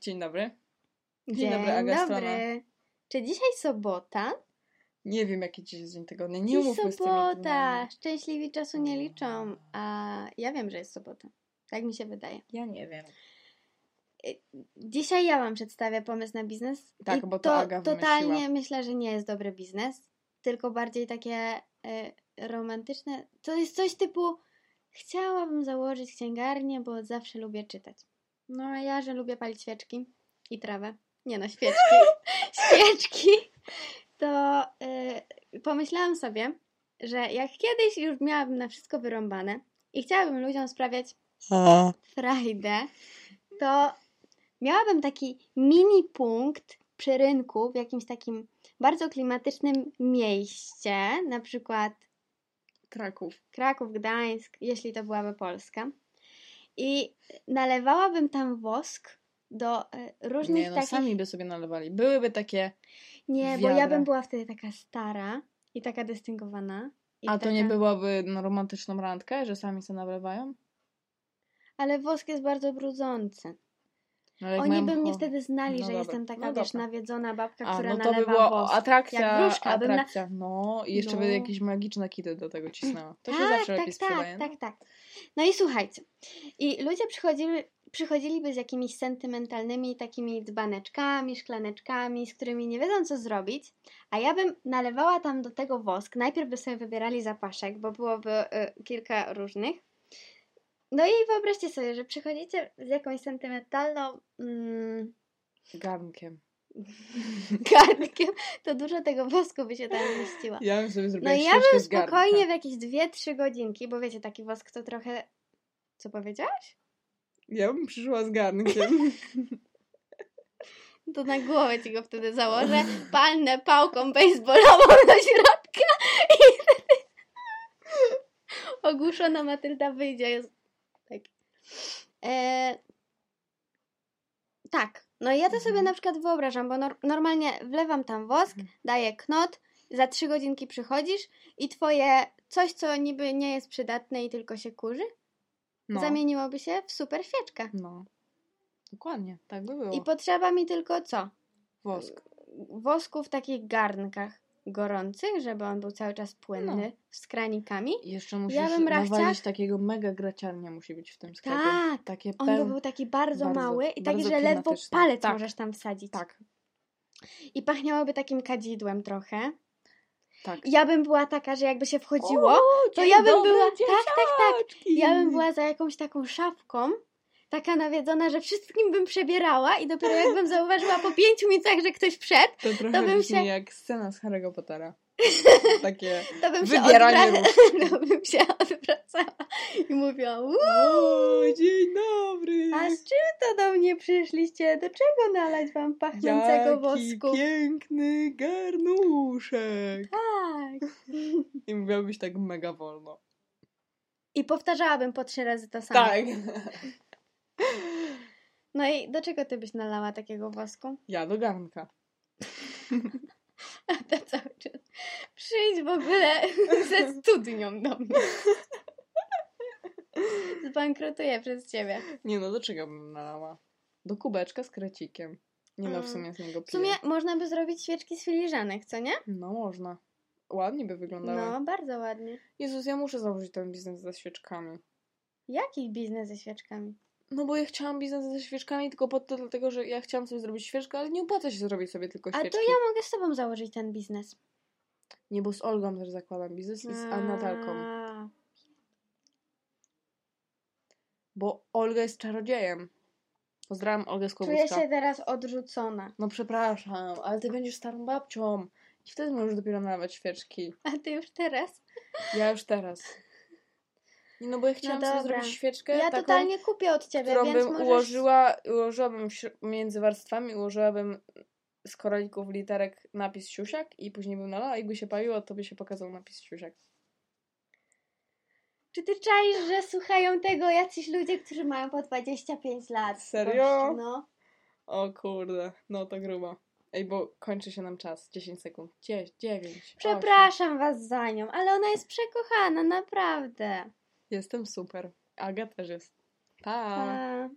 Dzień dobry. Dzień, dobry, Aga dobry. Czy dzisiaj sobota? Nie wiem, jaki dziś jest dzień tygodnia. Nie Dziś umówmy z tymi sobota. dniami. Szczęśliwi czasu nie liczą, a ja wiem, że jest sobota. Tak mi się wydaje. Ja nie wiem. y, Dzisiaj ja Wam przedstawię pomysł na biznes. Tak, I bo to Aga wymyśliła. Totalnie myślę, że nie jest dobry biznes, tylko bardziej takie y, romantyczne. To jest coś typu chciałabym założyć księgarnię, bo zawsze lubię czytać. No a ja, że lubię palić świeczki i trawę. Nie no, świeczki. świeczki. To y, pomyślałam sobie, że jak kiedyś już miałabym na wszystko wyrąbane i chciałabym ludziom sprawiać frajdę, to miałabym taki mini punkt przy rynku w jakimś takim bardzo klimatycznym mieście, na przykład Kraków. Kraków, Gdańsk, jeśli to byłaby Polska. I nalewałabym tam wosk do e, różnych Nie, no takich... sami by sobie nalewali. Byłyby takie, Nie, bo ja wiadra. bym była wtedy taka stara i taka dystyngowana. I a to taka... nie byłaby no, romantyczną randkę, że sami sobie nalewają? Ale wosk jest bardzo brudzący. No, ale jak Oni mają by mnie cho- wtedy znali, No że dobra. jestem taka, No wiesz, dobra. nawiedzona babka, A, która no to by nalewa była wosk. o, atrakcja, Jak wróżka, bym na- atrakcja. No i jeszcze No. by jakieś magiczne kity do tego cisnęła. To się zawsze lepiej sprzedaje. tak, tak, tak. No i słuchajcie, i ludzie przychodzili, przychodziliby z jakimiś sentymentalnymi takimi dzbaneczkami, szklaneczkami, z którymi nie wiedzą co zrobić, a ja bym nalewała tam do tego wosk. Najpierw by sobie wybierali zapaszek, bo byłoby y, kilka różnych. No i wyobraźcie sobie, że przychodzicie z jakąś sentymentalną mm, Garnkiem. garnkiem, to dużo tego wosku by się tam mieściło. Ja bym sobie zrobiła No i ja ścieżkę bym z garnka. spokojnie w jakieś 2-3 godzinki, bo wiecie, taki wosk to trochę. Co powiedziałaś? Ja bym przyszła z garnkiem. To na głowę ci go wtedy założę, palnę pałką baseballową do środka i wtedy ogłuszona Matylda wyjdzie. Jest... Tak. E... tak. No i ja to sobie Mhm. na przykład wyobrażam, bo nor- normalnie wlewam tam wosk, daję knot, za trzy godzinki przychodzisz i twoje coś, co niby nie jest przydatne i tylko się kurzy, No. zamieniłoby się w super świeczkę. No. Dokładnie, tak by było. I potrzeba mi tylko co? Wosk. Wosku w takich garnkach gorących, żeby on był cały czas płynny, No. z kranikami. I Jeszcze musisz Ja ja bym rachciach- nawalić takiego mega graciarnia musi być w tym sklepie. Tak, Takie On pełne. był taki bardzo, bardzo- mały i taki, bardzo że ledwo klimatyczny. palec Tak. możesz tam wsadzić. Tak, I pachniałoby takim kadzidłem trochę. tak. Ja bym była taka, że jakby się wchodziło, O, to dzień ja bym dobry, była. Tak, tak, tak. dzieciaczki! Ja bym była za jakąś taką szafką, taka nawiedzona, że wszystkim bym przebierała i dopiero jakbym zauważyła po pięciu minutach, że ktoś wszedł, To trochę bym brzmi się- jak scena z Harry'ego Pottera. Takie to bym się, wybieranie odwra... różnych. to No, bym się odwracała i mówiła, "Uuu, O, dzień dobry! a z czym to do mnie przyszliście? Do czego nalać wam pachnącego Jaki wosku? piękny garnuszek! Tak. I mówiłabyś tak mega wolno. I powtarzałabym po trzy razy to samo. Tak. No i do czego ty byś nalała takiego wosku? Ja do garnka. A to cały czas. Przyjdź w ogóle ze studnią do mnie. Zbankrutuję przez ciebie. Nie no, do czego bym nalała? Do kubeczka z krecikiem. Nie no, w Mm. sumie z niego W piję. sumie można by zrobić świeczki z filiżanek, co nie? No można. Ładnie by wyglądały. No, bardzo ładnie. Jezus, ja muszę założyć ten biznes ze świeczkami. Jaki biznes ze świeczkami? No bo ja chciałam biznes ze świeczkami tylko po to, dlatego że ja chciałam sobie zrobić świeczkę, ale nie opłaca się zrobić sobie tylko A świeczki. to ja mogę z tobą założyć ten biznes. Nie, bo z Olgą też zakładam biznes i z Natalką. A, Bo Olga jest czarodziejem. Pozdrawiam Olgę z Czuję Kłobuska. się teraz odrzucona. No przepraszam, ale ty będziesz starą babcią. I wtedy możesz dopiero nalewać świeczki. A ty już teraz? Ja już teraz. Nie, no bo ja chciałam sobie dobra. zrobić świeczkę Ja taką, totalnie kupię od ciebie, którą więc bym możesz... ułożyła, ułożyłabym w śr- między warstwami, ułożyłabym z koralików literek napis siusiak i później bym nalała, jakby się paliło, to by się pokazał napis siusiak. Czy ty czaisz, że słuchają tego jacyś ludzie, którzy mają po 25 lat? Serio? Gościu, No. O kurde, no to grubo. Ej, bo kończy się nam czas. 10 sekund. 10, 9. Przepraszam was za nią, ale ona jest przekochana, naprawdę. Jestem super. Aga też jest. Pa! Pa.